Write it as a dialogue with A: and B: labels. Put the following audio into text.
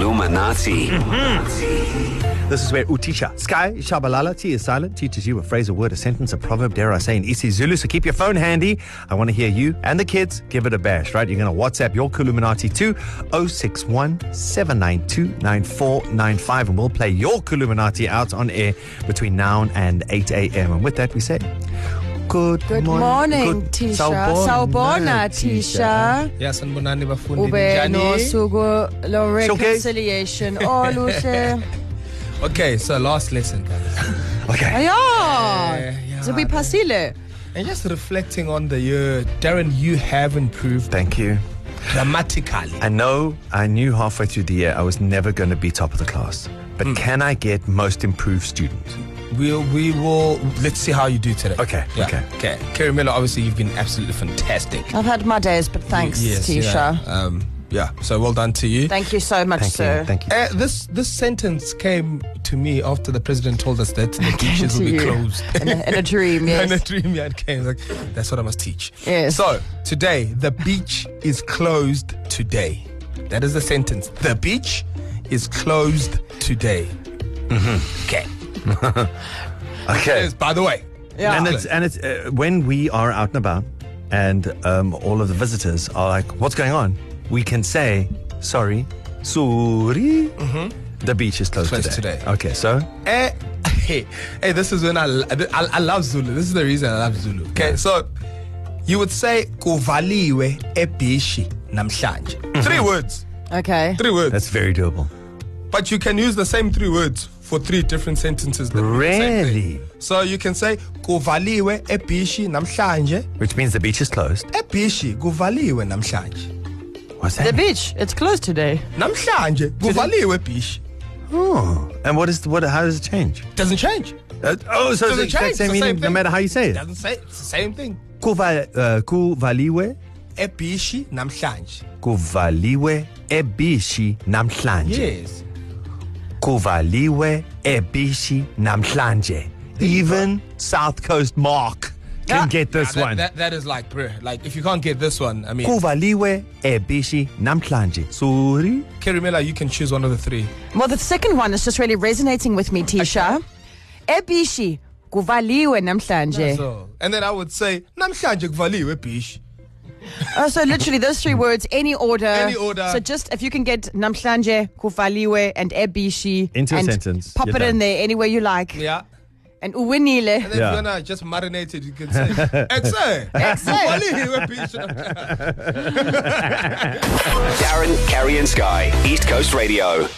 A: Kulumanati.
B: This is where Utisha, Sky, Shabalala, T is silent, teaches you a phrase, a word, a sentence, a proverb, dare I say, in isiZulu. So keep your phone handy. I want to hear you and the kids give it a bash, right? You're going to WhatsApp your Kuluminati to 061 792 9495, and we'll play your Kuluminati out on air between now and 8 a.m. And with that, we say, Good,
C: Good morning, Tisha.
B: Ah,
C: Sawubona, Tisha.
D: Ya sanibonani bafundi
C: Ube
D: njani?
C: nosuku lo reconciliation oluhle.
D: Okay, so last lesson guys.
B: Okay.
C: Ayo.
D: yeah.
C: Sibiphasile.
D: And just reflecting on the year, Darren, you have improved
B: Thank you.
D: dramatically.
B: I know I knew halfway through the year I was never going to be top of the class, but can I get most improved student?
D: We'll, we will, let's see how you do today.
B: Okay, okay.
D: Okay. Kerry Miller, obviously, you've been absolutely fantastic.
C: I've had my days, but thanks,
D: Yes,
C: Tisha.
D: Yeah. Um, yeah, so well done to you.
C: Thank you so much,
B: Thank
C: sir.
B: you. Thank you.
D: Uh, this this sentence came to me after the president told us that the beaches
C: to
D: will be
C: you.
D: closed.
C: In a, in a dream, yes.
D: And a dream yard came. Like, That's what I must teach.
C: Yes.
D: So today, the beach is closed today. That is the sentence. The beach is closed today. Mm-hmm. Okay.
B: Okay.
D: Yes, by the way.
C: Yeah.
B: And it's and it's uh, when we are out and about, and um, all of the visitors are like, "What's going on?" We can say, "Sorry, sorry." The beach is Mm-hmm. closed,
D: Closed
B: today.
D: today.
B: Okay, so
D: Eh, hey, hey, this is when I, l- I, I love Zulu. This is the reason I love Zulu. Okay, so you would say kuvaliwe ebishi namhlanje.
C: Mm-hmm.
D: Three words.
C: Okay.
D: Three words.
B: that's very doable.
D: But you can use the same three words for three different sentences. that mean the same thing.
B: Really,
D: So you can say kuvaliwe ebishi namhlanje.
B: which means the beach is closed.
D: Ebishi kuvaliwe namhlanje.
B: What's
C: The
B: that?
C: beach, it's closed today.
D: Namhlanje kuvaliwe ebishi.
B: oh, and what is the, what? How does it change?
D: Doesn't change.
B: Uh, oh, so it's
D: Doesn't
B: the exact
D: change,
B: same
D: the
B: meaning
D: same
B: no
D: thing.
B: matter how you say it.
D: Doesn't say it's the same thing.
B: Kuva- uh, Kuvaliwe,
D: Ebishi namhlanje.
B: kuvaliwe ebishi namhlanje.
D: Yes.
B: kuvaliwe ebishi namhlanje. Even South Coast Mark can
C: Ah.
B: get this
D: Nah, that,
B: one.
D: That, that is like, bruh. Like, if you can't get this one, I mean,
B: Kuvaliwe ebishi namhlanje. Sorry.
D: Kerry Miller, you can choose one of the three.
C: Well, the second one is just really resonating with me, Tisha. Ebishi, kuvaliwe
B: Eh.
C: namhlanje.
D: So, and then I would say namhlanje kuvaliwe ebishi.
C: Oh, so literally those three words, any order.
D: Any order.
C: So just if you can get namhlanje, kufaliwe, and ebishi
B: Into a
C: and
B: sentence,
C: Pop
B: you're
C: it in
B: done.
C: there any way you like.
D: Yeah.
C: And
D: And
C: uwinile.
D: then
B: Yeah.
D: if you wanna just marinate it, you can say exe. Kuvaliwe ebishi.
A: Darren, Kerry, and Sky. East Coast Radio.